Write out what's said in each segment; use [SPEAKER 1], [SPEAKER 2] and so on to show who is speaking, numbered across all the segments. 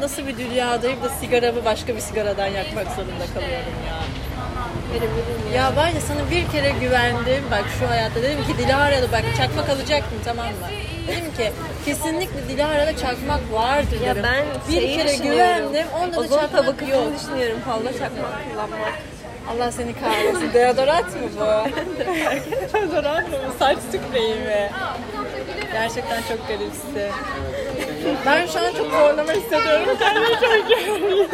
[SPEAKER 1] nasıl bir dünyadayım da sigaramı başka bir sigaradan yakmak zorunda kalıyorum ya. Ya var ya sana bir kere güvendim bak şu hayatta dedim ki Dilara'da bak çakmak alacaktım tamam mı? Dedim ki kesinlikle Dilara'da çakmak vardır
[SPEAKER 2] Ya
[SPEAKER 1] dedim.
[SPEAKER 2] ben
[SPEAKER 1] bir
[SPEAKER 2] şeyi
[SPEAKER 1] kere
[SPEAKER 2] düşünüyorum.
[SPEAKER 1] güvendim onda da
[SPEAKER 2] Ozon
[SPEAKER 1] çakmak
[SPEAKER 2] tabakasını
[SPEAKER 1] yok.
[SPEAKER 2] düşünüyorum. Falla çakmak kullanmak.
[SPEAKER 1] Allah seni kahretsin. Deodorant mı bu? Deodorant mı bu? Saç spreyi mi? Gerçekten çok garipsi. ben şu an çok zorlama hissediyorum. Kendimi çok iyi.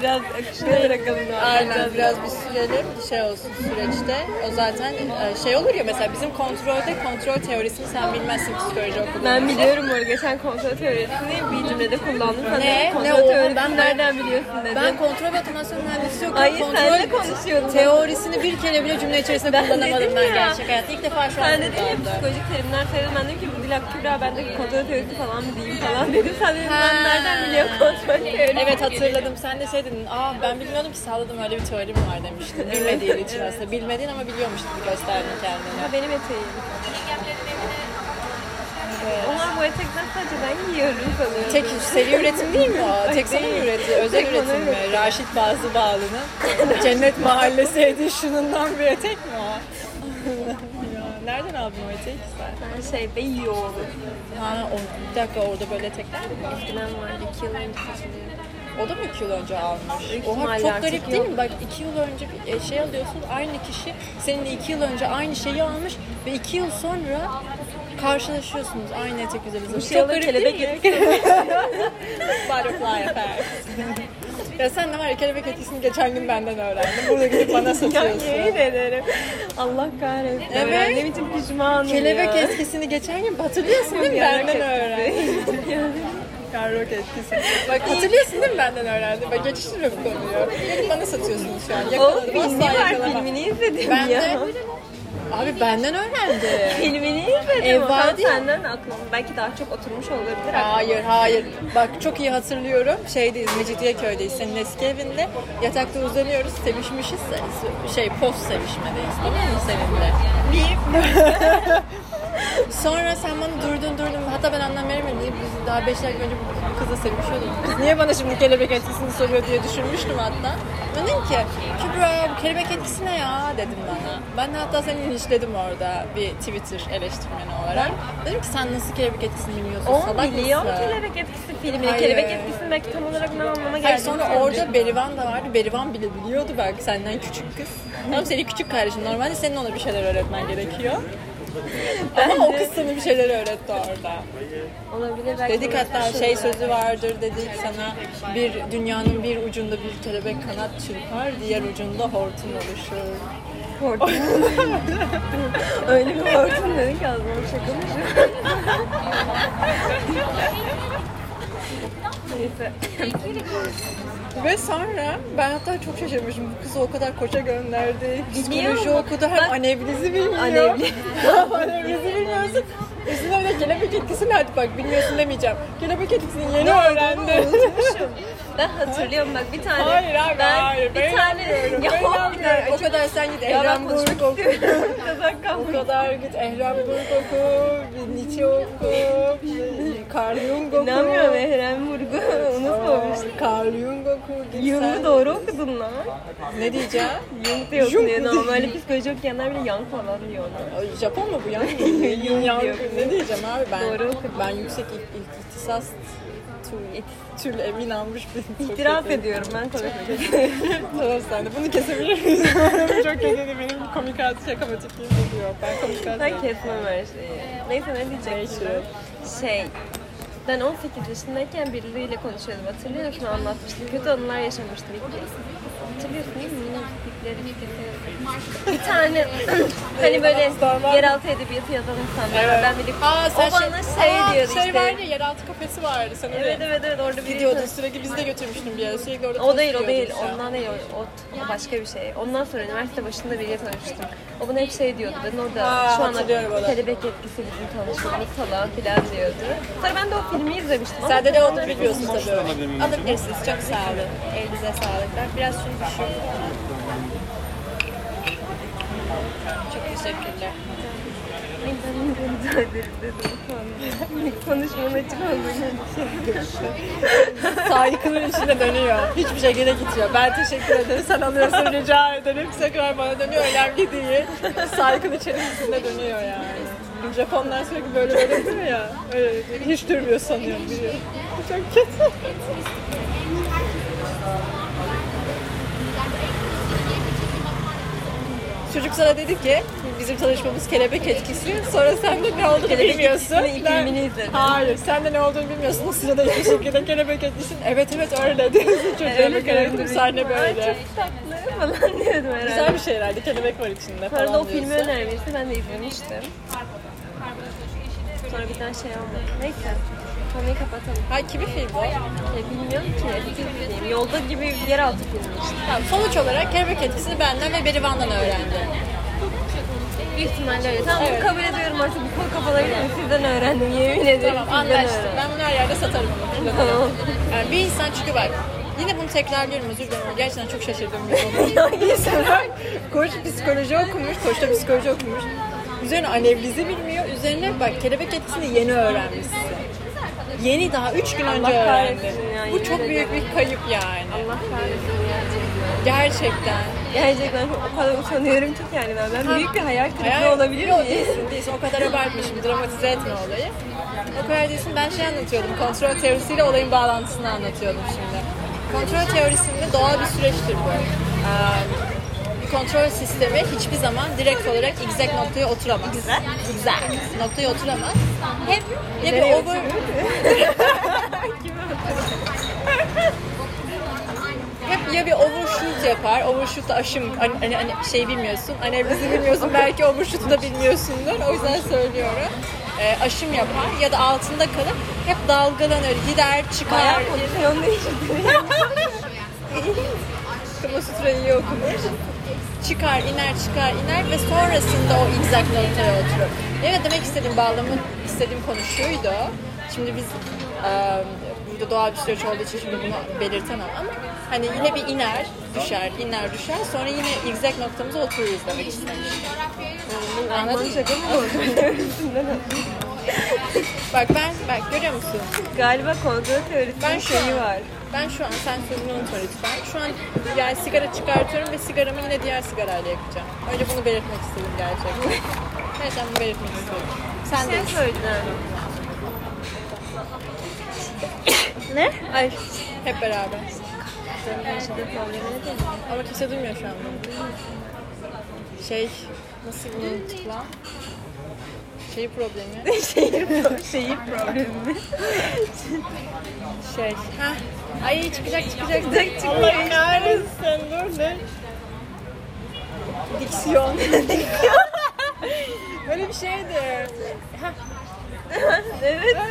[SPEAKER 2] Biraz akışına bırakalım.
[SPEAKER 1] Arda biraz bir sürelim. Şey olsun süreçte. O zaten e, şey olur ya mesela bizim kontrolde kontrol teorisini sen bilmezsin psikoloji okuduğun
[SPEAKER 2] Ben
[SPEAKER 1] için.
[SPEAKER 2] biliyorum bu arada. geçen kontrol teorisini bir cümlede kullandım. Sen
[SPEAKER 1] Ne?
[SPEAKER 2] ne?
[SPEAKER 1] Ne
[SPEAKER 2] Kontrol
[SPEAKER 1] oldu?
[SPEAKER 2] teorisini
[SPEAKER 1] Ben-
[SPEAKER 2] nereden biliyorsun dedi.
[SPEAKER 1] Ben kontrol ve otomasyon mühendisi yok.
[SPEAKER 2] Ay,
[SPEAKER 1] kontrol
[SPEAKER 2] senle konuşuyordum.
[SPEAKER 1] Teorisini bir kere bile cümle içerisinde
[SPEAKER 2] Ben
[SPEAKER 1] kullanamadım
[SPEAKER 2] dedim
[SPEAKER 1] ben
[SPEAKER 2] ya.
[SPEAKER 1] gerçek hayatta. İlk defa şu an
[SPEAKER 2] sen dedin ya
[SPEAKER 1] kullandım.
[SPEAKER 2] psikolojik terimler sayılır. Ben dedim ki bu Dilak Kübra ben de kontrol teorisi falan mı diyeyim falan dedim. Sen dedin
[SPEAKER 1] Ha.
[SPEAKER 2] ben nereden biliyorum kontrol teorisi?
[SPEAKER 1] Evet hatırladım. Sen de şey dedin. Aa ben bilmiyordum ki salladım öyle bir teorim var demiştin. Bilmediğin için aslında. Bilmediğin ama biliyormuş gibi gösterdin kendini.
[SPEAKER 2] Ha, benim eteğim. Onlar bu etekten sadece ben giyiyorum sanıyorum.
[SPEAKER 1] Tek seri üretim değil mi o?
[SPEAKER 2] Ay,
[SPEAKER 1] Tek seri
[SPEAKER 2] değil.
[SPEAKER 1] üreti, özel
[SPEAKER 2] Tek
[SPEAKER 1] üretim
[SPEAKER 2] bana
[SPEAKER 1] mi? Raşit Bazı Bağlı'nın Cennet Mahallesi Edition'ından bir etek mi o? Ya, Nereden aldın o eteği ki sen?
[SPEAKER 2] Ben şeyde yiyorum.
[SPEAKER 1] Ha, o, bir dakika orada böyle etekler mi? var?
[SPEAKER 2] Eskiden vardı. iki yıl önce taşınıyorum.
[SPEAKER 1] O da mı iki yıl önce almış?
[SPEAKER 2] Büyük
[SPEAKER 1] Oha
[SPEAKER 2] ihtimalle
[SPEAKER 1] çok
[SPEAKER 2] artık
[SPEAKER 1] garip değil
[SPEAKER 2] yok.
[SPEAKER 1] mi? Bak iki yıl önce bir e, şey alıyorsun aynı kişi seninle iki yıl önce aynı şeyi almış ve iki yıl sonra karşılaşıyorsunuz aynı etek üzerinde.
[SPEAKER 2] Bir şey alır kelebek etkisi.
[SPEAKER 1] Butterfly effect. ya sen de var ya kelebek etkisini geçen gün benden öğrendin. Burada gidip bana
[SPEAKER 2] Ya
[SPEAKER 1] satıyorsun.
[SPEAKER 2] yemin ederim. Allah kahretsin.
[SPEAKER 1] Evet.
[SPEAKER 2] Öğrendiğim için pişmanım
[SPEAKER 1] kelebek
[SPEAKER 2] ya.
[SPEAKER 1] etkisini geçen gün hatırlıyorsun değil mi?
[SPEAKER 2] Yarrak
[SPEAKER 1] Benden
[SPEAKER 2] etkisi.
[SPEAKER 1] öğrendin. Yarrak etkisi. Bak hatırlıyorsun değil mi benden öğrendin? Bak geçiştirme bu konuyu. Gelip bana satıyorsunuz şu an.
[SPEAKER 2] Oğlum
[SPEAKER 1] Yakaladım,
[SPEAKER 2] filmi
[SPEAKER 1] asla
[SPEAKER 2] var.
[SPEAKER 1] yakalamam.
[SPEAKER 2] Filmini izledim
[SPEAKER 1] Ben
[SPEAKER 2] ya.
[SPEAKER 1] de. Abi benden öğrendi.
[SPEAKER 2] Filmini izledim.
[SPEAKER 1] Ev
[SPEAKER 2] ama
[SPEAKER 1] var
[SPEAKER 2] ben
[SPEAKER 1] değil mi?
[SPEAKER 2] senden aklım. Belki daha çok oturmuş olabilir.
[SPEAKER 1] Hayır hayır. Bak çok iyi hatırlıyorum. Şeydeyiz Mecidiyeköy'deyiz senin eski evinde. Yatakta uzanıyoruz. Sevişmişiz. Şey post sevişmedeyiz. Tamam mı seninle? Sonra sen bana durdun durdun. Hatta ben anlam veremedim. Niye Biz daha beş dakika önce bu kızla sevişiyorduk. Biz niye bana şimdi kelebek etkisini soruyor diye düşünmüştüm hatta. Dedim ki Kübra bu kelebek etkisi ne ya dedim bana. Ben de hatta seni linçledim orada bir Twitter eleştirmeni olarak. Dedim ki sen nasıl kelebek etkisini bilmiyorsun?
[SPEAKER 2] O
[SPEAKER 1] salak
[SPEAKER 2] milyon
[SPEAKER 1] mısın?
[SPEAKER 2] kelebek etkisi filmini.
[SPEAKER 1] Hayır.
[SPEAKER 2] Kelebek etkisini belki tam olarak ne anlama geldi.
[SPEAKER 1] Hayır sonra orada Berivan da vardı. Berivan bile biliyordu belki senden küçük kız. Tamam senin küçük kardeşin. Normalde senin ona bir şeyler öğretmen gerekiyor. Ama o kız sana bir şeyler öğretti orada.
[SPEAKER 2] Olabilir belki.
[SPEAKER 1] Dedik hatta şey sözü vardır dedik sana bir dünyanın bir ucunda bir kelebek kanat çırpar diğer ucunda hortum oluşur.
[SPEAKER 2] Hortum. Öyle bir hortum dedin ki ağzıma bir şaka mı? Neyse.
[SPEAKER 1] Ve sonra ben hatta çok şaşırmışım. Bu kızı o kadar koça gönderdi. Psikoloji
[SPEAKER 2] Biliyor mu?
[SPEAKER 1] okudu. Hem
[SPEAKER 2] Ben-
[SPEAKER 1] anevrizi bilmiyor.
[SPEAKER 2] Anevri-
[SPEAKER 1] Hem anevrizi bilmiyorsun. Üstüne bir de kelebek etkisini hadi bak bilmiyorsun demeyeceğim. Kelebek etkisini yeni öğrendi.
[SPEAKER 2] Unutmuşum. Ben hatırlıyorum bak bir tane.
[SPEAKER 1] Hayır abi
[SPEAKER 2] ben,
[SPEAKER 1] hayır.
[SPEAKER 2] Bir
[SPEAKER 1] ben
[SPEAKER 2] tane.
[SPEAKER 1] inanmıyorum.
[SPEAKER 2] Ya
[SPEAKER 1] ben
[SPEAKER 2] bir
[SPEAKER 1] inanmıyorum.
[SPEAKER 2] tane.
[SPEAKER 1] O kadar sen git
[SPEAKER 2] Ya
[SPEAKER 1] Ehram
[SPEAKER 2] ben
[SPEAKER 1] Buruk
[SPEAKER 2] konuşmak
[SPEAKER 1] oku.
[SPEAKER 2] istemiyorum. Kazak
[SPEAKER 1] O
[SPEAKER 2] kalmış.
[SPEAKER 1] kadar git Ehram Buruk oku. bir Nietzsche oku. bir Carl Jung oku.
[SPEAKER 2] İnanmıyorum Ehren Vurgu. Unutmamış.
[SPEAKER 1] Aa, Carl Jung oku. git sen.
[SPEAKER 2] Jung'u doğru okudun lan.
[SPEAKER 1] Ne diyeceğim?
[SPEAKER 2] Jung diye
[SPEAKER 1] Jung
[SPEAKER 2] okunuyor. Normalde psikoloji okuyanlar bile Yang falan diyor ona.
[SPEAKER 1] Ay, Japon mu bu yan?
[SPEAKER 2] Yun
[SPEAKER 1] yan
[SPEAKER 2] diyor.
[SPEAKER 1] ne diyeceğim abi ben
[SPEAKER 2] Doğru okudum.
[SPEAKER 1] ben yüksek ilk, ilk ihtisas tül, tül emin almış bir
[SPEAKER 2] İtiraf ediyorum ben konuşmak
[SPEAKER 1] Tamam sen de bunu kesebilir miyiz? çok kötü de benim komik artı şaka motifliğim geliyor. Ben komik artı
[SPEAKER 2] Ben kesmem her şeyi. Neyse ne diyecektim
[SPEAKER 1] Neyse.
[SPEAKER 2] ben? Şey, ben 18 yaşındayken birileriyle konuşuyordum. Hatırlıyor musun? Anlatmıştım. Kötü anılar yaşamıştım. Hatırlıyorsun değil mi? Yine gittikleri bir Bir tane hani böyle yeraltı edebiyatı yazan insanlar. var. Ben birlikte.
[SPEAKER 1] Aa, sen
[SPEAKER 2] o bana şey,
[SPEAKER 1] Aa,
[SPEAKER 2] diyordu
[SPEAKER 1] şey
[SPEAKER 2] işte.
[SPEAKER 1] vardı ya yeraltı kafesi vardı. Sen oraya
[SPEAKER 2] Evet evet evet orada bir
[SPEAKER 1] gidiyordun sürekli bizi de götürmüştün bir yere. Sürekli orada
[SPEAKER 2] O değil o
[SPEAKER 1] tost
[SPEAKER 2] değil.
[SPEAKER 1] yiyordun sen.
[SPEAKER 2] Ondan değil o, o- o başka bir şey. Ondan sonra üniversite başında biriyle tanıştım. O bana hep şey diyordu. Ben orada
[SPEAKER 1] Aa,
[SPEAKER 2] şu an
[SPEAKER 1] hatırlıyorum onu.
[SPEAKER 2] kelebek etkisi bizim tanışmamız falan filan diyordu. Sonra ben de o filmi izlemiştim. ama
[SPEAKER 1] Sen de ne
[SPEAKER 2] sonra-
[SPEAKER 1] olduğunu biliyorsun tabii. Alabilirsiniz. Çok sağ olun. Elinize sağlık. Ben biraz şunu düşüreyim. Çok teşekkürler.
[SPEAKER 2] Ay, ben de rica ederim dedim. Utandım. İlk konuşmanın açık olduğunu.
[SPEAKER 1] yıkılır içinde dönüyor. Hiçbir şey geri gitmiyor. Ben teşekkür ederim. Sen alıyorsun rica ederim. Tekrar bana dönüyor. Önemli değil. Saygın içerisinde dönüyor yani. Japonlar sürekli böyle böyle değil mi ya? Öyle, hiç durmuyor sanıyorum. Biliyor. Çok kötü. Çocuk sana dedi ki bizim tanışmamız kelebek etkisi. Sonra sen de ne olduğunu
[SPEAKER 2] Kelebek
[SPEAKER 1] bilmiyorsun.
[SPEAKER 2] etkisinin
[SPEAKER 1] Ben-
[SPEAKER 2] filmini izledim.
[SPEAKER 1] Hayır sen de ne olduğunu bilmiyorsun. O sırada bir şekilde kelebek etkisin. Evet evet öyle diyorsun çocuğa bir kelebek sahne böyle.
[SPEAKER 2] Çok tatlı falan diyordum herhalde.
[SPEAKER 1] Güzel bir şey herhalde kelebek var içinde
[SPEAKER 2] Bu arada o
[SPEAKER 1] falan
[SPEAKER 2] filmi
[SPEAKER 1] diyorsun.
[SPEAKER 2] önermişti. Ben de izlemiştim. Sonra birden şey oldu. Neyse. Konuyu kapatalım.
[SPEAKER 1] Ha kimin filmi o?
[SPEAKER 2] Ya E, bilmiyorum ki. Eski bir film. Yolda gibi bir yeraltı filmi işte.
[SPEAKER 1] Tamam, sonuç olarak kelebek etkisini benden ve Berivan'dan öğrendi.
[SPEAKER 2] Büyük ihtimalle öyle. Tamam
[SPEAKER 1] Evet.
[SPEAKER 2] bunu kabul ediyorum artık. Bu konu kapatabilir miyim? Sizden öğrendim. Yemin ederim.
[SPEAKER 1] Tamam
[SPEAKER 2] sizden
[SPEAKER 1] anlaştık.
[SPEAKER 2] öğrendim.
[SPEAKER 1] Ben bunu her yerde satarım. bunu.
[SPEAKER 2] Tamam.
[SPEAKER 1] Yani bir insan çünkü bak yine bunu tekrarlıyorum özür dilerim. Gerçekten çok şaşırdım bir konu. İnsanlar koç psikoloji okumuş, koçta psikoloji okumuş. Üzerine anevrizi bilmiyor. Üzerine bak kelebek etkisini yeni öğrenmişsin. Yeni daha 3 gün önce öğrendi.
[SPEAKER 2] kahretsin ya,
[SPEAKER 1] Bu
[SPEAKER 2] yemin
[SPEAKER 1] çok büyük bir kayıp yani.
[SPEAKER 2] Allah kahretsin gerçekten.
[SPEAKER 1] Gerçekten.
[SPEAKER 2] Gerçekten o kadar utanıyorum ki yani ben. Ben büyük bir hayal kırıklığı
[SPEAKER 1] Hayal-
[SPEAKER 2] olabilir
[SPEAKER 1] Yok,
[SPEAKER 2] miyim?
[SPEAKER 1] değilsin, değilsin. O kadar abartma şimdi dramatize etme olayı. O kadar değilsin. Ben şey anlatıyordum. Kontrol teorisiyle olayın bağlantısını anlatıyordum şimdi. Kontrol teorisinde doğal bir süreçtir bu. Ee, bir kontrol sistemi hiçbir zaman direkt olarak exact noktaya oturamaz. Güzel. Exact noktaya oturamaz. Hep ya bir over... Hep ya bir overshoot yapar, overshoot'ta aşım, hani, hani, hani şey bilmiyorsun, analizi bilmiyorsun, belki overshoot'u da bilmiyorsundur, o yüzden söylüyorum. Ee, aşım yapar ya da altında kalıp hep dalgalanır, gider, çıkar.
[SPEAKER 2] Hayal pozisyonunu hiç
[SPEAKER 1] Kama Sutra'yı iyi okumuş. Çıkar, iner, çıkar, iner ve sonrasında o exact noktaya oturur. Yani demek istediğim, bağlamı istediğim konu şuydu. Şimdi biz eee, burada doğal bir süreç olduğu için şimdi bunu belirtemem ama hani yine bir iner, düşer, iner, düşer. Sonra yine exact noktamıza otururuz demek istemiştim. Anladın mı? Bak ben, bak görüyor musun?
[SPEAKER 2] Galiba kontrol teorisinin
[SPEAKER 1] Ben şu
[SPEAKER 2] şeyi
[SPEAKER 1] an,
[SPEAKER 2] var.
[SPEAKER 1] ben şu an, sen sözünü unutma lütfen. Şu an yani sigara çıkartıyorum ve sigaramı yine diğer sigarayla yapacağım. Önce bunu belirtmek istedim gerçekten. Gerçekten bunu belirtmek istedim. Sen
[SPEAKER 2] Bir şey
[SPEAKER 1] de
[SPEAKER 2] söyleyeceğim. ne? Ay.
[SPEAKER 1] hep beraber.
[SPEAKER 2] Her şeyde problem ne dedim?
[SPEAKER 1] Ama kimse duymuyor şu an. bunu. Şey, nasıl bunu unuttuk lan? Şey problemi.
[SPEAKER 2] Şehir problemi. Şehir problemi.
[SPEAKER 1] Şey, ha. Ay çıkacak çıkacak.
[SPEAKER 2] Çıkacak, çıkacak.
[SPEAKER 1] Allah kahretsin dur ne? Diksiyon. Böyle bir şeydi.
[SPEAKER 2] evet.
[SPEAKER 1] Eleksiyon.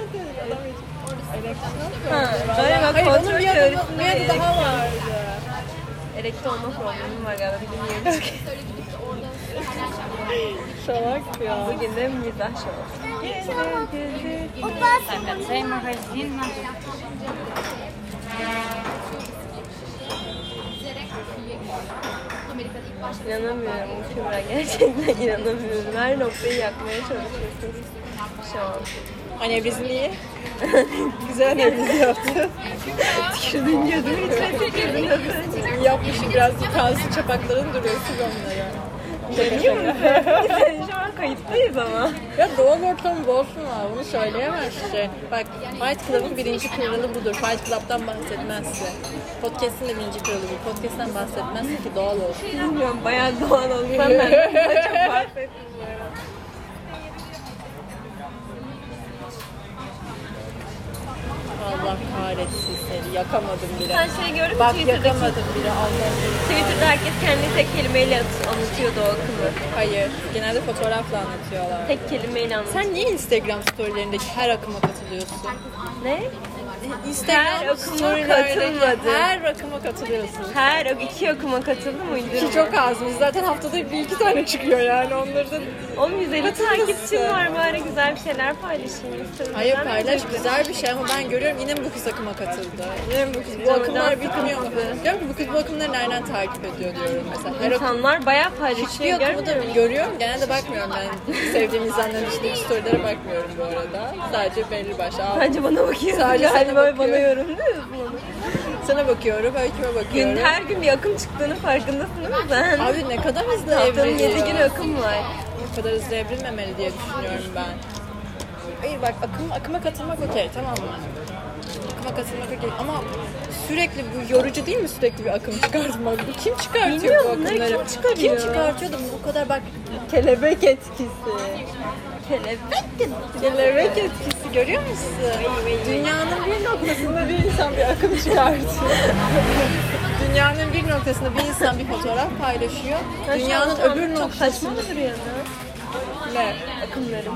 [SPEAKER 2] Ha, Galiba
[SPEAKER 1] Hayır onun
[SPEAKER 2] kontrol
[SPEAKER 1] bir adı, bir
[SPEAKER 2] teorisinde
[SPEAKER 1] adı
[SPEAKER 2] elektrik-
[SPEAKER 1] daha vardı.
[SPEAKER 2] elekte olma problemi var galiba. Bilmiyorum.
[SPEAKER 1] Şalak ya.
[SPEAKER 2] Bugün de mizah şovu.
[SPEAKER 3] Так, цей магазин наш.
[SPEAKER 2] İnanamıyorum Kübra gerçekten inanamıyorum. Her noktayı yakmaya çalışıyorsunuz şu an.
[SPEAKER 1] Anevrizm iyi. Güzel anevriz yaptı.
[SPEAKER 2] Tükürdün gözümü içine tükürdün.
[SPEAKER 1] İyi Yapmışım biraz da kalsın çapakların duruyorsun onlara.
[SPEAKER 2] Görüyor musun? Biz şu an kayıttayız ama.
[SPEAKER 1] Ya doğal ortamı bozsun abi bunu söyleyemezsin. Şey, Bak Fight Club'ın birinci kuralı budur. Fight Club'dan bahsetmezse. Podcast'ın da birinci kuralı bu. Podcast'tan bahsetmezse ki doğal olsun.
[SPEAKER 2] Bilmiyorum bayağı doğal olsam ben de çok bahsettim.
[SPEAKER 1] Allah kahretsin seni. Yakamadım bile.
[SPEAKER 2] Sen şey gördün mü
[SPEAKER 1] Bak
[SPEAKER 2] Twitter'daki?
[SPEAKER 1] yakamadım bile Allah'ım.
[SPEAKER 2] Twitter'da herkes kendini tek kelimeyle at- anlatıyordu o akımı.
[SPEAKER 1] Hayır. Genelde fotoğrafla anlatıyorlar.
[SPEAKER 2] Tek kelimeyle anlatıyor.
[SPEAKER 1] Sen niye Instagram storylerindeki her akıma katılıyorsun?
[SPEAKER 2] Ne? Her
[SPEAKER 1] Instagram
[SPEAKER 2] akıma
[SPEAKER 1] storylerindeki
[SPEAKER 2] katılmadım.
[SPEAKER 1] Her akıma katılıyorsun.
[SPEAKER 2] Her iki akıma katıldı mıydı?
[SPEAKER 1] Ki çok az. Biz zaten haftada bir iki tane çıkıyor yani onları da...
[SPEAKER 2] Oğlum 150
[SPEAKER 1] Katılmasın.
[SPEAKER 2] takipçim var bari güzel bir şeyler paylaşayım. Instagram'dan.
[SPEAKER 1] Hayır paylaş güzel bir şey ama ben görüyorum yine mi bu kız akıma katıldı? Yine mi bu kız bu
[SPEAKER 2] Doğru,
[SPEAKER 1] akımlar
[SPEAKER 2] dans
[SPEAKER 1] bitmiyor mu?
[SPEAKER 2] akımı.
[SPEAKER 1] Diyorum ki bu kız bu akımları nereden takip ediyor diyorum mesela. Her akım
[SPEAKER 2] İnsanlar bayağı
[SPEAKER 1] bir şey
[SPEAKER 2] paylaşıyor.
[SPEAKER 1] akımı
[SPEAKER 2] Görmüyor
[SPEAKER 1] da
[SPEAKER 2] musun?
[SPEAKER 1] görüyorum. Genelde bakmıyorum ben. Sevdiğim insanların üstündeki storylere bakmıyorum bu arada. Sadece belli başlı. Aa,
[SPEAKER 2] Bence bana bakıyorsun.
[SPEAKER 1] Sadece
[SPEAKER 2] Sadece
[SPEAKER 1] sana
[SPEAKER 2] sen böyle bana
[SPEAKER 1] bakıyor.
[SPEAKER 2] yorumluyorsun.
[SPEAKER 1] sana bakıyorum, öyküme bakıyorum.
[SPEAKER 2] Gün, her gün bir akım çıktığının farkındasın değil mi sen?
[SPEAKER 1] Abi ne kadar hızlı
[SPEAKER 2] Haftanın
[SPEAKER 1] evriliyor.
[SPEAKER 2] 7 günü akım var.
[SPEAKER 1] Bu kadar hızlı evrilmemeli diye düşünüyorum ben. Hayır bak akım, akıma katılmak okey tamam mı? Akıma katılmak okey ama sürekli bu yorucu değil mi sürekli bir akım çıkartmak? Bu kim çıkartıyor
[SPEAKER 2] Bilmiyorum,
[SPEAKER 1] bu
[SPEAKER 2] bunları kim
[SPEAKER 1] akımları?
[SPEAKER 2] çıkarıyor?
[SPEAKER 1] Kim çıkartıyor da bu kadar bak
[SPEAKER 2] Kelebek etkisi. Kelebek
[SPEAKER 1] kelebek etkisi görüyor musun? Dünyanın bir noktasında bir insan bir akım çıkartıyor. Dünyanın bir noktasında bir insan bir fotoğraf paylaşıyor. Dünyanın öbür
[SPEAKER 2] Çok
[SPEAKER 1] noktasında
[SPEAKER 2] saçma mı duruyor lan
[SPEAKER 1] ne?
[SPEAKER 2] akımlarım?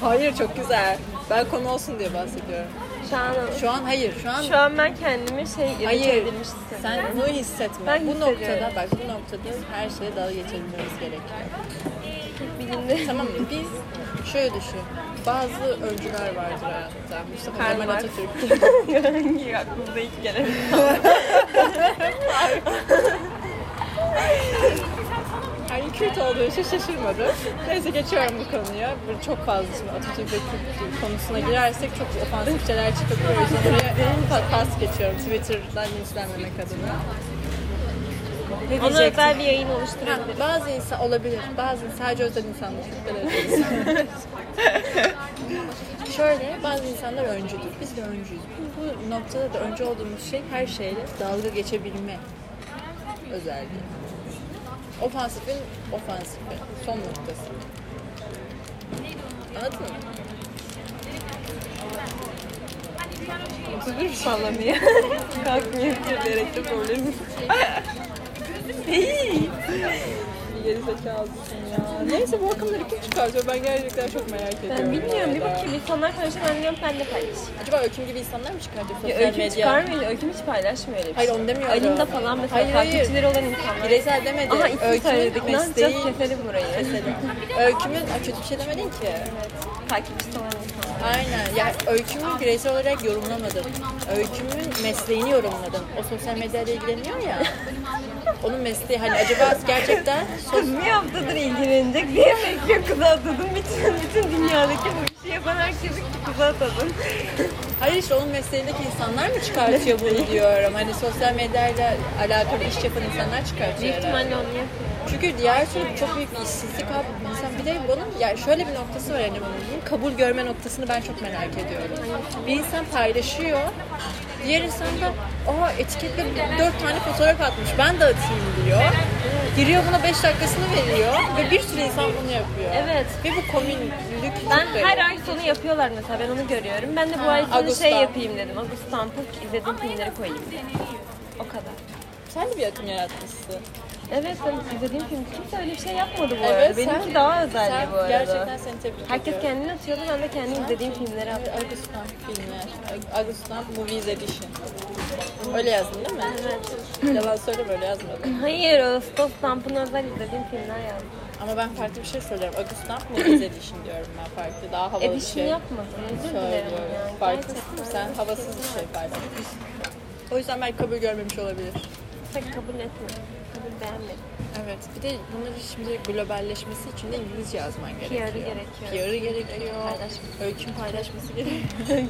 [SPEAKER 1] Hayır çok güzel. Ben konu olsun diye bahsediyorum.
[SPEAKER 2] Şu an
[SPEAKER 1] Şu an hayır. Şu an
[SPEAKER 2] Şu an ben kendimi şey irite
[SPEAKER 1] hayır.
[SPEAKER 2] edilmiş hissediyorum.
[SPEAKER 1] Sen bunu hissetme.
[SPEAKER 2] Ben
[SPEAKER 1] bu
[SPEAKER 2] hissediyorum.
[SPEAKER 1] noktada bak bu noktada her şeye dalga geçebilmemiz gerekiyor.
[SPEAKER 2] Bilimde
[SPEAKER 1] Tamam mı? Biz şöyle düşün. Bazı öncüler vardır hayatta. Mustafa
[SPEAKER 2] Karl
[SPEAKER 1] Kemal
[SPEAKER 2] Marx.
[SPEAKER 1] Atatürk.
[SPEAKER 2] hangi aklımda ilk gelen
[SPEAKER 1] Yani Kürt olduğu için şaşırmadım. Neyse geçiyorum bu konuya. Böyle çok fazla şimdi Atatürk ve Kürt konusuna girersek çok ofansif şeyler çıkabilir. O yüzden oraya pa- pas geçiyorum Twitter'dan linçlenmemek adına. Ne
[SPEAKER 2] Ona
[SPEAKER 1] diyecektim?
[SPEAKER 2] özel bir yayın
[SPEAKER 1] Ha,
[SPEAKER 2] oluşturabilirim.
[SPEAKER 1] bazı insan olabilir. Bazı sadece özel insanlar. Şöyle bazı insanlar öncüdür. Biz de öncüyüz. Bu, bu noktada da öncü olduğumuz şey her şeyle dalga geçebilme özelliği. Ofansifin ofansifi. Son noktası. Anladın mı?
[SPEAKER 2] Dur sallamaya. Kalkmıyor. Direkte problemim.
[SPEAKER 1] Bir geri zekalısın ya. Neyse bu akımları kim çıkartıyor? Ben gerçekten çok merak ediyorum.
[SPEAKER 2] Ben bilmiyorum. Bir
[SPEAKER 1] arada.
[SPEAKER 2] bakayım. İnsanlar konuşuyor. Ben diyorum sen de paylaş.
[SPEAKER 1] Acaba öyküm gibi insanlar mı çıkartıyor sosyal
[SPEAKER 2] Ya
[SPEAKER 1] medyaya?
[SPEAKER 2] öyküm çıkarmıyor. Öyküm hiç paylaşmıyor öyle bir
[SPEAKER 1] Hayır,
[SPEAKER 2] şey.
[SPEAKER 1] onu demiyorum.
[SPEAKER 2] Alim'de falan mesela
[SPEAKER 1] Hayır, hayır.
[SPEAKER 2] takipçileri olan insanlar.
[SPEAKER 1] Bireysel demedi.
[SPEAKER 2] Ama isim söyledik.
[SPEAKER 1] Öykünün
[SPEAKER 2] Ne
[SPEAKER 1] mesleği.
[SPEAKER 2] yapacağız? Keselim burayı.
[SPEAKER 1] Öykümün Aa, kötü bir şey demedin ki.
[SPEAKER 2] Takipçisi olan insanlar.
[SPEAKER 1] Aynen. Ya öykümü bireysel olarak yorumlamadım. Öykümün mesleğini yorumladım. O sosyal medyayla ilgileniyor ya. Onun mesleği hani acaba gerçekten
[SPEAKER 2] Kız bir haftadır ilgilenecek diye bekliyor kıza atadım. Bütün, bütün dünyadaki bu işi yapan herkesi kıza atadım.
[SPEAKER 1] Hayır işte onun mesleğindeki insanlar mı çıkartıyor bunu diyorum. Hani sosyal medyayla alakalı iş yapan insanlar çıkartıyor
[SPEAKER 2] Büyük
[SPEAKER 1] herhalde.
[SPEAKER 2] ihtimalle onu yapıyor.
[SPEAKER 1] Çünkü diğer türlü çok büyük bir işsizlik abi. İnsan bir de bunun yani şöyle bir noktası var yani bunun. Bunun kabul görme noktasını ben çok merak ediyorum. Bir insan paylaşıyor. Diğer insan da aa etiketle dört tane fotoğraf atmış. Ben de atayım diyor. Giriyor buna beş dakikasını veriyor ve bir sürü insan bunu yapıyor.
[SPEAKER 2] Evet.
[SPEAKER 1] Ve bu komünlük çok
[SPEAKER 2] Ben
[SPEAKER 1] garip.
[SPEAKER 2] her ay sonu yapıyorlar mesela ben onu görüyorum. Ben de bu ay sonu
[SPEAKER 1] Ağustos'ta.
[SPEAKER 2] şey yapayım dedim. Ağustos'tan pık izlediğim filmleri koyayım dedim. O kadar.
[SPEAKER 1] Sen de bir akım yaratmışsın.
[SPEAKER 2] Evet ben izlediğim film kimse öyle bir şey yapmadı bu
[SPEAKER 1] Evet,
[SPEAKER 2] arada. Benimki
[SPEAKER 1] sen-
[SPEAKER 2] daha özeldi
[SPEAKER 1] sen
[SPEAKER 2] bu arada.
[SPEAKER 1] Gerçekten seni tebrik ediyorum.
[SPEAKER 2] Herkes kendini atıyordu ben de kendi izlediğim filmleri attım.
[SPEAKER 1] Agustan filmler. Ag- Agustan Movies Edition. Öyle yazdın değil mi? Evet. Yalan söyleme öyle yazmadım.
[SPEAKER 2] Hayır Ağustos Stamp'ın özel izlediğim filmler yazdım.
[SPEAKER 1] Ama ben farklı bir şey söylüyorum. Agustan Movies Edition diyorum ben farklı. Daha havalı bir
[SPEAKER 2] Edişini
[SPEAKER 1] şey
[SPEAKER 2] yapmadın. Özür dilerim.
[SPEAKER 1] söylüyorum.
[SPEAKER 2] yani.
[SPEAKER 1] Farklı.
[SPEAKER 2] Gerçekten.
[SPEAKER 1] Sen havasız bir şey paylaşıyorsun. O yüzden belki kabul görmemiş olabilir.
[SPEAKER 2] Pek kabul etmedim. Kabul beğenmedim.
[SPEAKER 1] Evet. Bir de bunların şimdi globalleşmesi için de İngilizce yazman gerekiyor.
[SPEAKER 2] gerekiyor.
[SPEAKER 1] PR'ı gerekiyor.
[SPEAKER 2] Paylaşması.
[SPEAKER 1] Öykün paylaşması gerekiyor.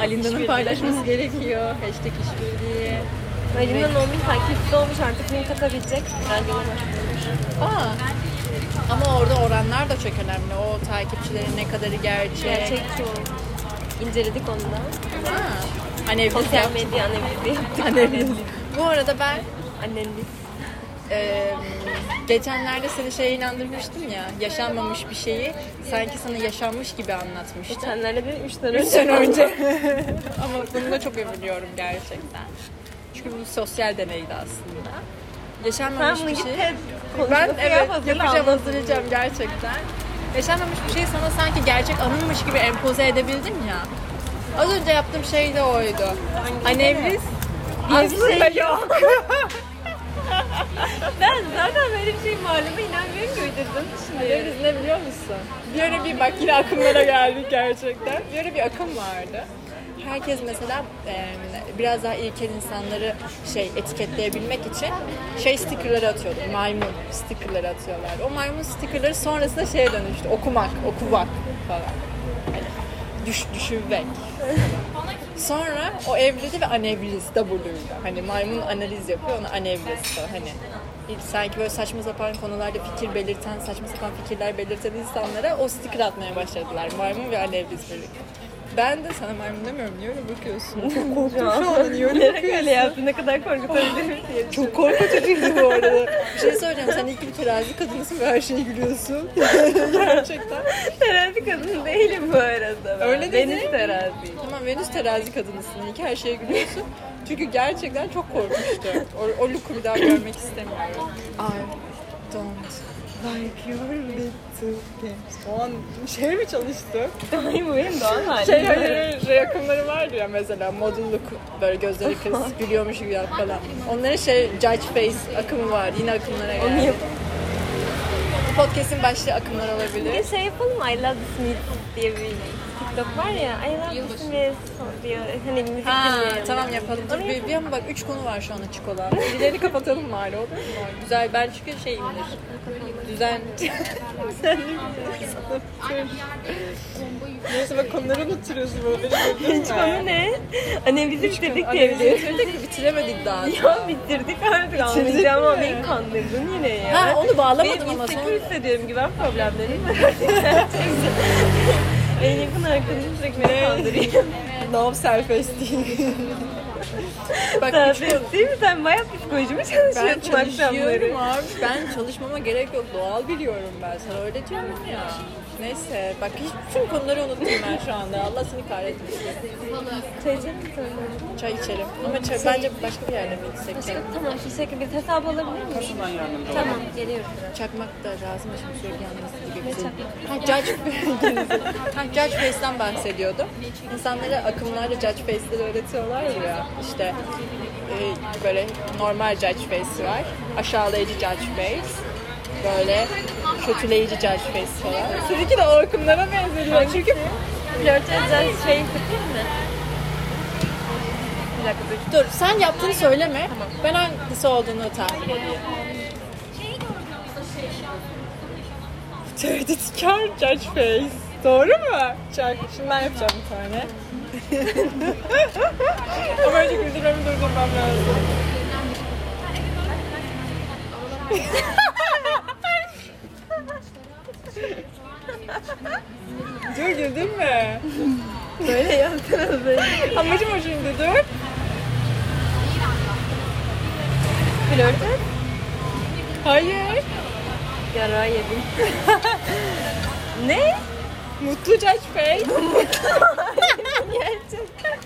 [SPEAKER 1] Alinda'nın paylaşması gerekiyor. Hashtag işbirliği.
[SPEAKER 2] Ali'nin 10 bin takipçisi olmuş artık link atabilecek. Ben yolum
[SPEAKER 1] Aa. Ama orada oranlar da çok önemli. O takipçilerin ne kadarı gerçek.
[SPEAKER 2] Gerçekçi oldu. İnceledik onu da.
[SPEAKER 1] Ha. Analiz
[SPEAKER 2] Sosyal
[SPEAKER 1] yaptık.
[SPEAKER 2] medya analizi yaptık.
[SPEAKER 1] Analiz. Hani Bu arada ben
[SPEAKER 2] Analiz.
[SPEAKER 1] e, geçenlerde seni şeye inandırmıştım ya. Yaşanmamış bir şeyi sanki sana yaşanmış gibi anlatmıştım.
[SPEAKER 2] Senlerle bir 3 sene önce.
[SPEAKER 1] Sen önce. Ama bunu da çok övünüyorum gerçekten. Çünkü bu sosyal deneydi aslında. Yaşanmamış
[SPEAKER 2] Sen bunu
[SPEAKER 1] bir
[SPEAKER 2] git
[SPEAKER 1] şey.
[SPEAKER 2] TED
[SPEAKER 1] Ben
[SPEAKER 2] konuşması
[SPEAKER 1] evet
[SPEAKER 2] yap, hazırla,
[SPEAKER 1] yapacağım
[SPEAKER 2] anlat.
[SPEAKER 1] hazırlayacağım gerçekten. Yaşanmamış bir şey sana sanki gerçek anılmış gibi empoze edebildim ya. Az önce yaptığım şey de oydu. Anevriz diye bir şey yok.
[SPEAKER 2] Ben zaten böyle bir şey maluma inanmıyorum ki uydurdum şimdi.
[SPEAKER 1] Anevriz ne biliyor musun? Bir ara bir bak yine akımlara geldik gerçekten. Bir ara bir akım vardı. Herkes mesela e, biraz daha ilkel insanları şey etiketleyebilmek için şey stickerları atıyordu. Maymun stickerları atıyorlar. O maymun stickerları sonrasında şeye dönüştü. Okumak, okumak falan. Hani düş, düşünmek. Sonra o evlidi ve anevliz W'yla. Hani maymun analiz yapıyor ona anevliz diyor. Hani ilk sanki böyle saçma sapan konularda fikir belirten, saçma sapan fikirler belirten insanlara o sticker atmaya başladılar. Maymun ve anevliz birlikte. Ben de sana maymun demiyorum. Niye öyle bakıyorsun? Korktum şu an. Niye öyle
[SPEAKER 2] Bilerek
[SPEAKER 1] bakıyorsun?
[SPEAKER 2] öyle yaptı. Ne kadar korkutabilirim diye.
[SPEAKER 1] Çok korkutucuydu bu arada. Bir şey söyleyeceğim. Sen ilk bir terazi kadınısın ve her şeye gülüyorsun. Gerçekten.
[SPEAKER 2] Terazi kadın değilim bu arada. ben.
[SPEAKER 1] Öyle dedi.
[SPEAKER 2] Deniz teraziyim.
[SPEAKER 1] Tamam Venüs terazi kadınısın. İyi ki her şeye gülüyorsun. Çünkü gerçekten çok korkmuştu. O, o look'u bir daha görmek istemiyorum. I don't like your little games. O an şey mi çalıştı?
[SPEAKER 2] Ay bu benim doğal halim.
[SPEAKER 1] Şey hani şey yakınları vardı ya mesela model look böyle gözleri kız gülüyormuş gibi yap falan. Onların şey judge face akımı var. Yine akımlara geldi.
[SPEAKER 2] Onu yap.
[SPEAKER 1] Bu podcast'in başlığı akımlar olabilir.
[SPEAKER 2] Bir şey yapalım mı? I love the Smith diye bir TikTok var ya. I love the Smith diyor. Hani müzik
[SPEAKER 1] Ha
[SPEAKER 2] dinleyelim.
[SPEAKER 1] tamam yapalım. Dur, bir, bir an bak üç konu var şu an açık olan. Birilerini kapatalım bari olur mu? Güzel ben çünkü şeyimdir. Düzen. Düzenli bir insanım. Neyse bak konuları unutturuyorsun böyle. beni gördün
[SPEAKER 2] Hiç
[SPEAKER 1] mü?
[SPEAKER 2] konu ne? Hani biz bitirdik diye
[SPEAKER 1] Analizi
[SPEAKER 2] biliyorum.
[SPEAKER 1] bitirdik de bitiremedik daha.
[SPEAKER 2] Ya bitirdik artık anlayacağım
[SPEAKER 1] mi?
[SPEAKER 2] ama beni kandırdın yine ya.
[SPEAKER 1] Ha onu bağlamadım
[SPEAKER 2] Benim
[SPEAKER 1] ama sonra.
[SPEAKER 2] insecure hissediyorum güven problemlerim var artık gerçekten. En yakın arkadaşım sürekli beni kandırıyor.
[SPEAKER 1] Love self-esteem. bak
[SPEAKER 2] Sen
[SPEAKER 1] üç konu.
[SPEAKER 2] de- değil mi? Sen bayağı psikolojimi
[SPEAKER 1] Ben
[SPEAKER 2] çalışıyorsun akşamları.
[SPEAKER 1] çalışıyorum abi. Ben çalışmama gerek yok. Doğal biliyorum ben. Sana öyle diyorum ya. Neyse bak hiç bütün konuları unuttum ben şu anda. Allah seni kahretmesin.
[SPEAKER 2] Çalışacak mısın?
[SPEAKER 1] Çay içelim. Ama çay, bence başka bir yerde mi içsek?
[SPEAKER 2] Başka
[SPEAKER 1] çay?
[SPEAKER 2] tamam teşekkür bir hesap alabilir miyiz? Tamam geliyorum.
[SPEAKER 1] Çakmak da lazım şey şimdi sürekli yanması gibi bizim. Ha, judge, ha, judge Face'den bahsediyordum. İnsanlara akımlarla Judge Face'leri öğretiyorlar ya. İşte e, böyle normal Judge Face var. Aşağılayıcı Judge Face. Böyle kötüleyici Judge Face falan. Sizinki de o akımlara benziyor. Çünkü
[SPEAKER 2] Flört edeceğiz şey tutayım mı? Bir dakika dur.
[SPEAKER 1] dur sen yaptığını söyleme. Ben hangisi olduğunu tahmin edeyim. Tehditkar Judge Face. Doğru mu? Çak. Şimdi ben yapacağım bir tane. Ama önce güldürmemi durdurmam lazım. dur güldün mü?
[SPEAKER 2] Böyle yaptınız böyle.
[SPEAKER 1] Amacım o şimdi dur.
[SPEAKER 2] Flört et.
[SPEAKER 1] Hayır.
[SPEAKER 2] Yara yedim. ne?
[SPEAKER 1] Mutlu Judge Face.
[SPEAKER 2] Gerçekten.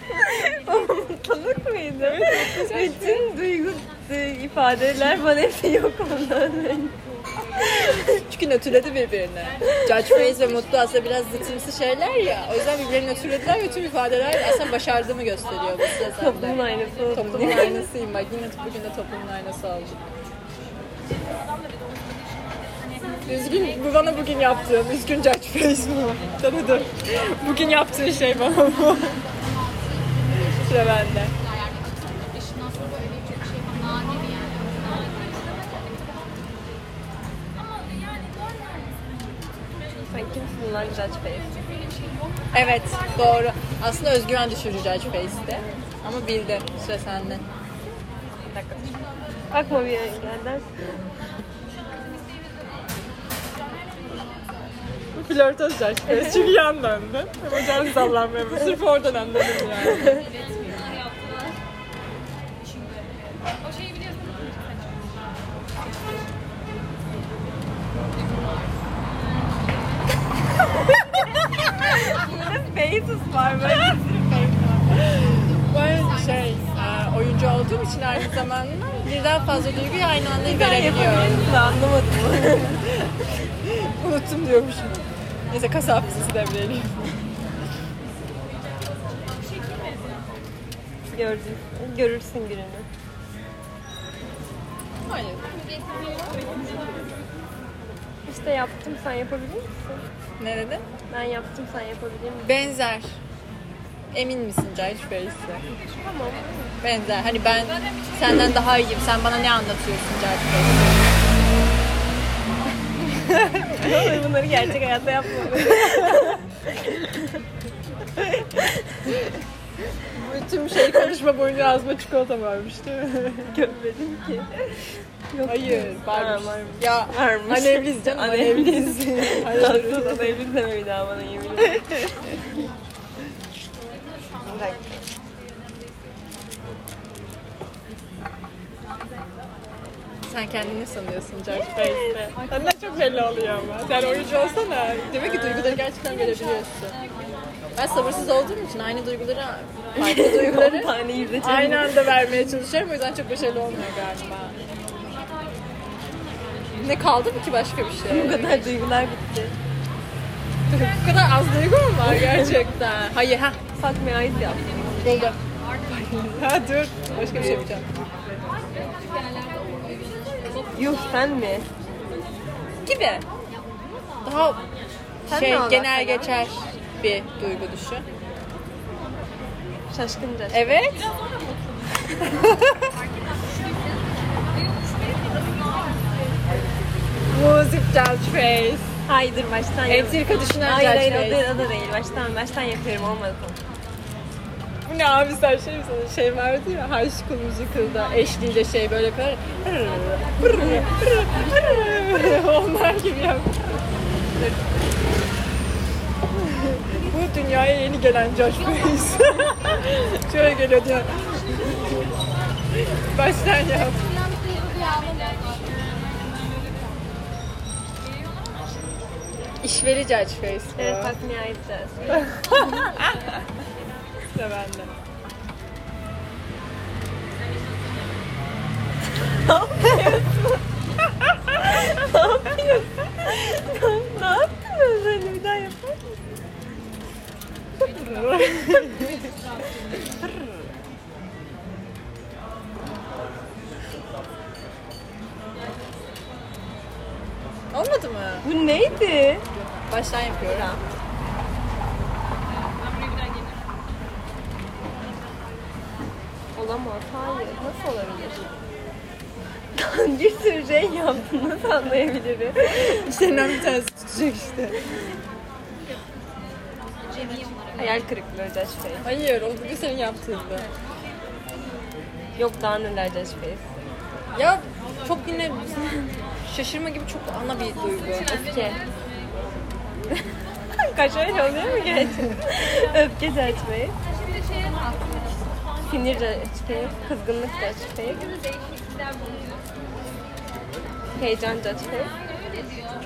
[SPEAKER 2] o mutluluk muydu? Bütün duygu e, ifadeler bana hepsi yok ondan önce.
[SPEAKER 1] Çünkü nötrledi birbirini. Judge Face ve Mutlu aslında biraz zıtımsı şeyler ya. O yüzden birbirlerini nötrlediler ve tüm ifadeler aslında başardığımı gösteriyor. Bu size zaten.
[SPEAKER 2] Toplumun aynası oldu.
[SPEAKER 1] Toplumun aynasıyım bak. Yine bugün de toplumun aynası oldum. Üzgün, bu bana bugün yaptığın, üzgün Judge Face bu. Tanıdım. Bugün yaptığın şey bana bu. Sıra bende.
[SPEAKER 2] Sen kimsin lan Judge Bey?
[SPEAKER 1] Evet, doğru. Aslında özgüven düşürücü Judge Face'ti. Ama bildi. Sıra sende.
[SPEAKER 2] Bir dakika. Bakma bir yerden.
[SPEAKER 1] Flörtöz Face. Çünkü yan döndü. Ama can sallanmıyor. Sırf oradan anladım yani.
[SPEAKER 2] Faces var böyle.
[SPEAKER 1] Ben şey, e, oyuncu olduğum için aynı zamanda birden fazla duyguyu aynı anda verebiliyorum.
[SPEAKER 2] Yapabiliyorsun anlamadım.
[SPEAKER 1] Unuttum diyormuşum. Neyse kasa hafızası devreye
[SPEAKER 2] Gördün. Görürsün gününü.
[SPEAKER 1] Hayır.
[SPEAKER 2] İşte yaptım sen yapabilir misin?
[SPEAKER 1] Nerede?
[SPEAKER 2] Ben yaptım sen yapabilir misin?
[SPEAKER 1] Benzer. Emin misin Cahit Face'le?
[SPEAKER 2] Tamam.
[SPEAKER 1] Benzer. Hani ben senden daha iyiyim. Sen bana ne anlatıyorsun Cahit Face'le?
[SPEAKER 2] Ne olur bunları gerçek hayatta yapma.
[SPEAKER 1] tüm şey konuşma boyunca ağzıma çikolata varmış değil mi?
[SPEAKER 2] Görmedim ki.
[SPEAKER 1] Hayır, varmış.
[SPEAKER 2] Ha, varmış.
[SPEAKER 1] Ya
[SPEAKER 2] Varmış.
[SPEAKER 1] Alevliyiz canım, alevliyiz. Hayır.
[SPEAKER 2] Aslında da evlilik demeyi daha bana yemin ederim.
[SPEAKER 1] Sen kendini ne sanıyorsun Jack?
[SPEAKER 2] Neyse.
[SPEAKER 1] Senden çok belli oluyor ama. Sen oyuncu olsana. Demek ki duyguları gerçekten verebiliyorsun. Ben sabırsız olduğum için aynı duyguları, farklı
[SPEAKER 2] Duyguları
[SPEAKER 1] duyguları
[SPEAKER 2] tane izleyeceğim.
[SPEAKER 1] aynı anda vermeye çalışıyorum. O yüzden çok başarılı olmuyor galiba. Ne kaldı mı ki başka bir şey?
[SPEAKER 2] Bu kadar duygular bitti.
[SPEAKER 1] Bu kadar az duygu mu var gerçekten? Hayır ha.
[SPEAKER 2] Fatma'ya ait yap.
[SPEAKER 1] Buldum. ha dur. Başka bir şey yapacağım.
[SPEAKER 2] Yuh sen mi? Gibi.
[SPEAKER 1] Daha
[SPEAKER 2] Sen
[SPEAKER 1] şey
[SPEAKER 2] ne alaka
[SPEAKER 1] genel
[SPEAKER 2] ya?
[SPEAKER 1] geçer bir duygu düşün.
[SPEAKER 2] Şaşkınca.
[SPEAKER 1] Evet. Müzik Judge Face.
[SPEAKER 2] Haydır baştan yap.
[SPEAKER 1] Entrika düşünen
[SPEAKER 2] Hayır
[SPEAKER 1] Judge
[SPEAKER 2] hayır o
[SPEAKER 1] Face.
[SPEAKER 2] değil, o da değil. Baştan, baştan yapıyorum olmadı.
[SPEAKER 1] Bu ne abi sen şey mi sanıyorsun? Şey vardı ya High School Musical'da eş deyince şey böyle yapar. Onlar gibi yap. Bu dünyaya yeni gelen Josh Face. Şöyle geliyor diyor. Baştan yap. İşveri Judge Face bu.
[SPEAKER 2] Evet Fatma'ya ait Judge.
[SPEAKER 1] de bende.
[SPEAKER 2] ne yaptın öyle bir daha yapar mısın?
[SPEAKER 1] Olmadı mı?
[SPEAKER 2] Bu neydi?
[SPEAKER 1] Baştan yapıyorum.
[SPEAKER 2] Olamaz. Hayır. Nasıl olabilir? bir sürü şey yaptın. Nasıl anlayabilirim?
[SPEAKER 1] İşlerinden bir tanesi tutacak işte.
[SPEAKER 2] Hayal kırıklığı Judge Face.
[SPEAKER 1] Hayır, o bugün senin yaptığında.
[SPEAKER 2] Yok daha neler Judge Face.
[SPEAKER 1] Ya çok yine şaşırma gibi çok ana bir duygu.
[SPEAKER 2] Öfke. Kaç öyle oluyor mu gerçekten? Öfke Judge Face. Sinir Judge Face. Kızgınlık Judge Face. Heyecan Judge Face.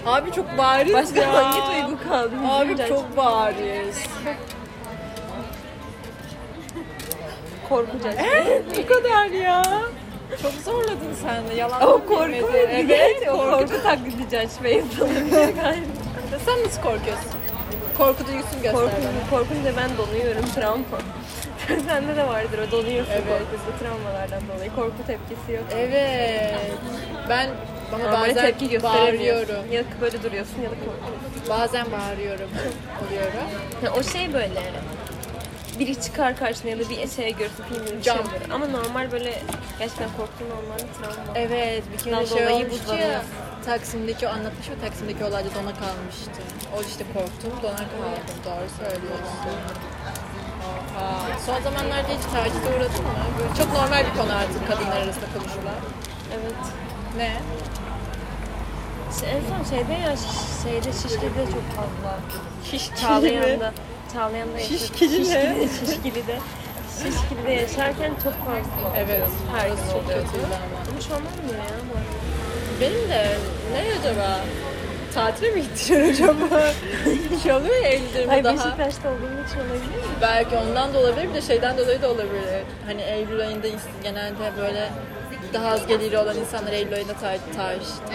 [SPEAKER 1] Abi çok bariz
[SPEAKER 2] Başka
[SPEAKER 1] ya.
[SPEAKER 2] hangi duygu kaldı? Hüzün
[SPEAKER 1] Abi
[SPEAKER 2] judge
[SPEAKER 1] çok bariz.
[SPEAKER 2] Korku Judge Face.
[SPEAKER 1] Bu kadar ya. Çok zorladın sen de. Yalan
[SPEAKER 2] O korku
[SPEAKER 1] bilmedi.
[SPEAKER 2] muydu?
[SPEAKER 1] Evet,
[SPEAKER 2] o
[SPEAKER 1] korku.
[SPEAKER 2] korku taklidi Judge Face olabilir galiba.
[SPEAKER 1] Sen nasıl korkuyorsun? Korku duygusunu göster
[SPEAKER 2] Korkunca,
[SPEAKER 1] bana.
[SPEAKER 2] korkunca ben donuyorum travma. Sende de vardır o donuyorsun
[SPEAKER 1] Evet.
[SPEAKER 2] korkusu travmalardan dolayı. Korku tepkisi yok.
[SPEAKER 1] Evet. Ben bana
[SPEAKER 2] Normale
[SPEAKER 1] bazen
[SPEAKER 2] tepki gösteremiyorsun.
[SPEAKER 1] bağırıyorum.
[SPEAKER 2] Ya böyle duruyorsun ya da korkuyorsun.
[SPEAKER 1] Bazen bağırıyorum. Oluyorum.
[SPEAKER 2] Ya o şey böyle biri çıkar karşına ya da bir şey görürsün filmin
[SPEAKER 1] Cam.
[SPEAKER 2] içinde. Ama normal böyle gerçekten korktuğun normal bir travma.
[SPEAKER 1] Evet, bir kere
[SPEAKER 2] Bundan
[SPEAKER 1] şey
[SPEAKER 2] dolayı
[SPEAKER 1] olmuştu ya.
[SPEAKER 2] buzlanıyor.
[SPEAKER 1] Taksim'deki o anlatmış mı? Taksim'deki olayda dona kalmıştı. O işte korktum, dona kaldım. Doğru söylüyorsun. Oha. Son zamanlarda hiç tacize uğradın mı? Böyle çok normal bir konu artık kadınlar arasında konuşulan.
[SPEAKER 2] Evet.
[SPEAKER 1] Ne?
[SPEAKER 2] İşte en son şeyde ya şiş- şeyde şişkide çok fazla.
[SPEAKER 1] Şiş
[SPEAKER 2] Çağlayan'da. Çağlayan'da yaşadım.
[SPEAKER 1] Şişkili mi?
[SPEAKER 2] Şişkili, şişkili'de. Şişkili'de yaşarken çok fazla.
[SPEAKER 1] Evet,
[SPEAKER 2] Her gün
[SPEAKER 1] orası çok
[SPEAKER 2] oluyordu.
[SPEAKER 1] kötüydü ama.
[SPEAKER 2] Bu şaman mı ya? bu arada?
[SPEAKER 1] Benim de ne acaba? Tatile mi gittiler acaba? bir şey oluyor ya Eylül'de
[SPEAKER 2] Ay
[SPEAKER 1] daha.
[SPEAKER 2] Beşiktaş'ta olduğum için olabilir mi?
[SPEAKER 1] Belki ondan da olabilir, bir de şeyden dolayı da olabilir. Hani Eylül ayında is- genelde böyle daha az geliri olan insanlar Eylül ayında ta- ta-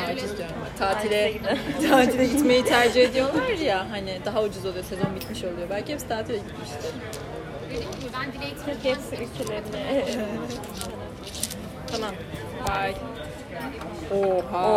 [SPEAKER 1] taciz diyorum. Tatile, tatile gitmeyi tercih ediyorlar ya hani daha ucuz oluyor, sezon bitmiş oluyor. Belki hepsi tatile gitmiştir.
[SPEAKER 2] Türkiye hepsi ülkelerine.
[SPEAKER 1] Tamam. Bye. Oha.